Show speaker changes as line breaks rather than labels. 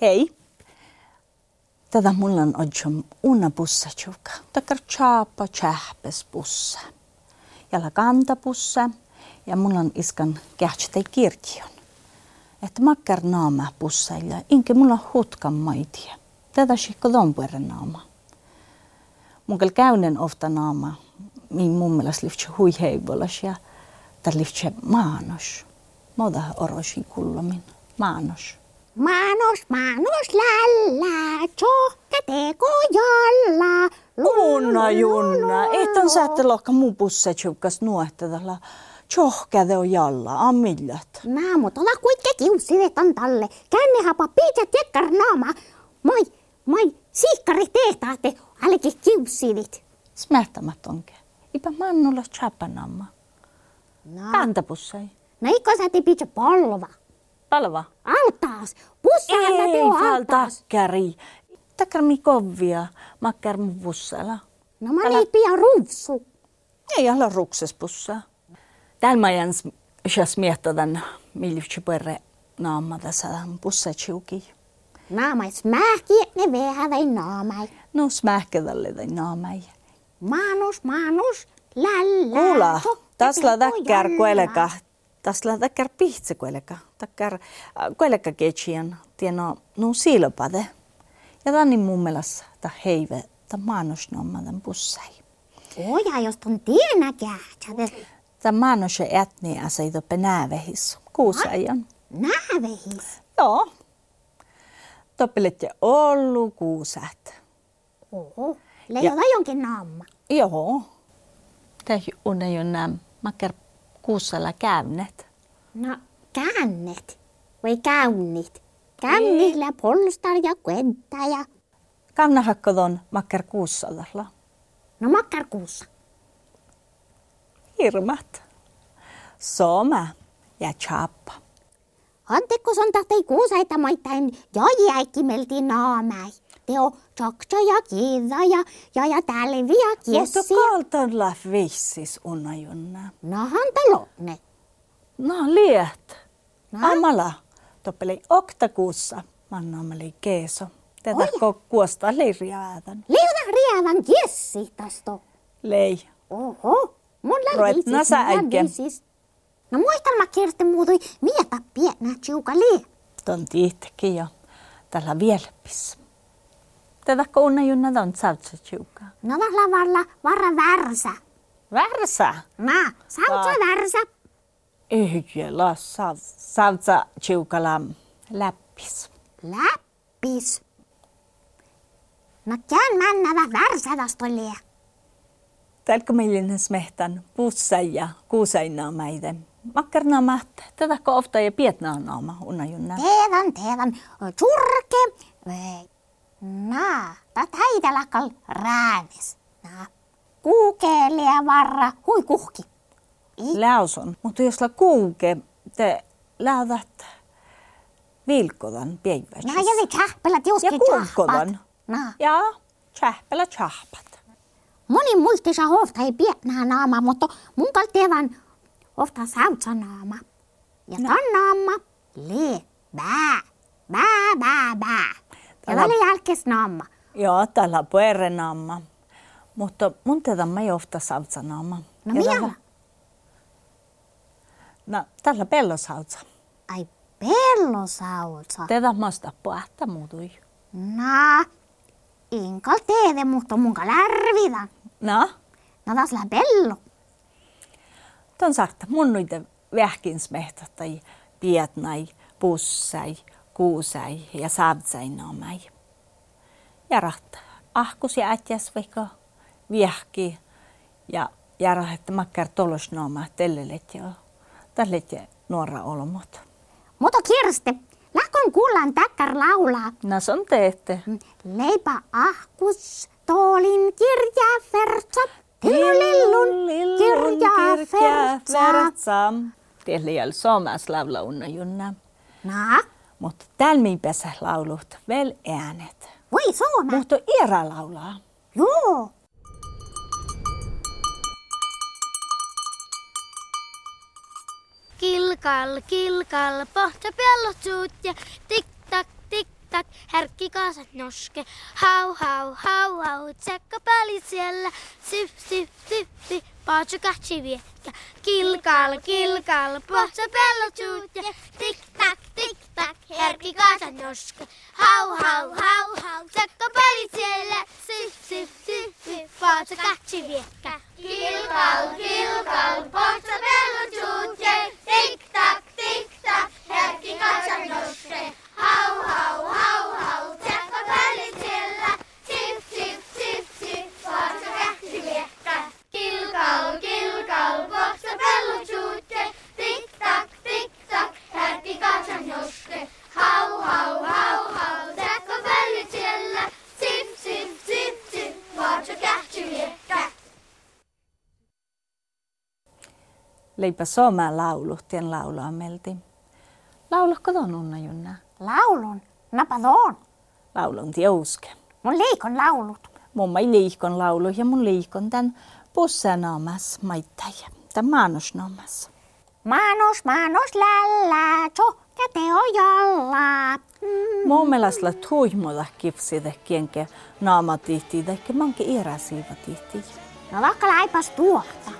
Hei. Tätä mulla on otsum una bussa tjukka. Takar tjaapa tjähpäs bussa. Jalla kanta bussa. Ja mulla on iskan kähtsitei kirkion. Että makkar naama bussailla. Inke mulla hutkan maitia. Tätä sikko lompueren naama. Mun kel käynen ofta naama. Min mun mielestä lyhtsä hui heivolas ja tär lyhtsä maanos. Moda orosi kullamin. Maanos.
Manos, manos, lalla, tjocka teko jolla.
Unna
no,
junna, etän sä ette lakka mun busse tjukkas nuohtedalla. Tjohkäde on jalla, ammillat.
Nää, mut olla kuikke kiusivet on talle. Känne hapa piitä tekkar naama. Moi, moi, siikkari tehtaatte, älke kiusivit.
Smähtämät onke. Ipä mannulla tjapanamma.
No,
Kantapussei.
no ikko sä te pitää polva.
Palva.
Altaas, pussa alla
Ei,
teo
fal
altaas.
takkari. Takkar mi kovia, makkar mun bussala.
No mä niin pian ruvsu.
Ei alla rukses bussaa. Täällä mä jäns, jos miettän, millyhtsä perre naamma tässä busse tjuki.
Naamais mähki, ne vehävei naamai.
No smähkädälle tai naamai.
Manos, manos, lalla.
Kuula,
tjocka
tasla
teko
täkkär
jolla.
kueleka, tasla täkkär pihtse kueleka, täkkär kueleka kechian, tieno nu silpade. Ja tän niin mun mielestä ta heive, ta maanosnomma tän bussai.
Oja, jos on tienä kähtsäve.
Ta maanos ätni aseito penäävehis, kuusaijan.
Näävehis.
Joo. Toppelette ollu kuusat.
Oho. Leijola jonkin naamma.
Joo. Täh unne jo näm, makkar kuusalla käynet.
No, käännet. Voi käynnit.
Niin.
Kännillä polstar ja kenttä ja...
Kannahakkodon makkar kuusallalla.
No makkarkuussa.
Hirmat. Soma ja chappa.
Antekko on tahtei kuusaita maittain ja jäikimelti naamäi. Teo tjokta ja kiida ja, ja, ja tälvi ja
Mutta
kiessi.
kaltan la vissis unajunna.
Nahan talonne.
No liet.
No.
Amala. Toppeli oktakuussa. Mannaamali keeso. Tätä ko- kuosta leiriäätän.
Leijola rievän kiessi tasto.
Lei.
Oho, mulla
Roet
liisis,
nasa
mulla
äikke.
liisis. No muistelma kirsti muutui mietä pienä tiuka lie.
Ton tiihtekin jo. Tällä vielpis. Tätä ko unajunna ton saltsitsiuka.
No vahla varla varra värsä.
Värsä.
Mä, salsa värsä.
Yhdellä saltsitsiukalla läppis.
Läppis. No kään männävä värsä tasto lie.
Tälkomillinen smehtän puussa ja kuusainaamäiden. Makkarnaamat, tätä ofta ja pietnaanaama unajunna.
Teevan, teevan, turke. Nää, tät häitä lakkal räävis. Nää, kuukeelia varra, hui kuhki.
Läoson. Mutta jos la kuuke, te lähdät vilkodan
Nää
päivässä.
jävi tjahpela tiuski
Ja kuukkovan.
Nää.
Ja tjähpelä tjähpat.
Moni muistissa hofta ei pienää naama, mutta mun kaltevan ofta sautsa naama. Ja
No.
ton naama lee bää, bää, bää, bää. Ja
Älä-
välillä jälkes naama.
Joo, tällä puerenaama. Mutta mun tätä mä ei ofta sautsanaama.
No
Ja tällä-
mialla?
No, tällä pellosautsa.
Ai pello sautsa.
Tätä maasta puhta muutui.
Naa, inkal teeve, mutta mun kal ärvida.
No,
No taas lää pello.
Tuon saakka mun noita vähkinsmehtä tai pietnai, pussai, kuusai ja saavtsai naamai. Ja rahta. Ahkus ja ätjäs vaikka viehki ja ja rahta makkar tolos naama tellelet ja tället ja nuora olmot.
Mutta kirste, lähkön kuullaan täkkär laulaa.
No se on teette.
Leipä ahkus, toolin kirja vertsa, tillun kirja vertsa.
vertsa. Teille jäl saamas laula unna junna.
Naa,
Mutta täällä mi pesä laulut vel äänet.
voi suoma.
Mutta Iira laulaa.
Joo.
Kilkal, kilkal, pohta pellot suut ja tik tak, tik tak, Härkki kaasat noske. Hau, hau, hau, hau, tsekka pali siellä. Sip, sip, sip, sip, paatsu kahtsi vietkä. Kilkal, kilkal, pohtsa pello tjuutja. Tik tak, tik tak, härkki kaasat noske. Hau, hau, hau, hau, tsekka pali siellä. Sip, sip, sip, sip, paatsu kahtsi vietkä. Kilkal, kilkal, pohtsa pello tjuutja. Tik tak, tik tak, härkki kaasat noske. Hau, hau, hau, hau, tsekka pali siellä. Sip, sip, sip, sip, pohtsa kahtsi vietkä. Kilkal, kilkal, pohtsa pello tjuutja. Tik tak, tik tak, härkki kaasat noske. Hau, hau, hau, hau, tsekka pali siellä. Sip, sip, sip, sip, pohtsa kahtsi vietkä.
Leipä soma lauluhtien laulaa melti. Laulahko tuon Unna Junna?
Laulun, napadoon.
Laulun tiusken.
Mun liikon laulut.
Mumma ei liikon laulu ja mun liikon tän pussanoomas maittaja. Tän maanosnoomas.
Manos, manos, lällä, tsohka teo jolla. Mm.
Mun mielestä tuihmoda kipside kienke naama tihti, tehkä manke iäräsiiva tihti.
No vaikka laipas tuota.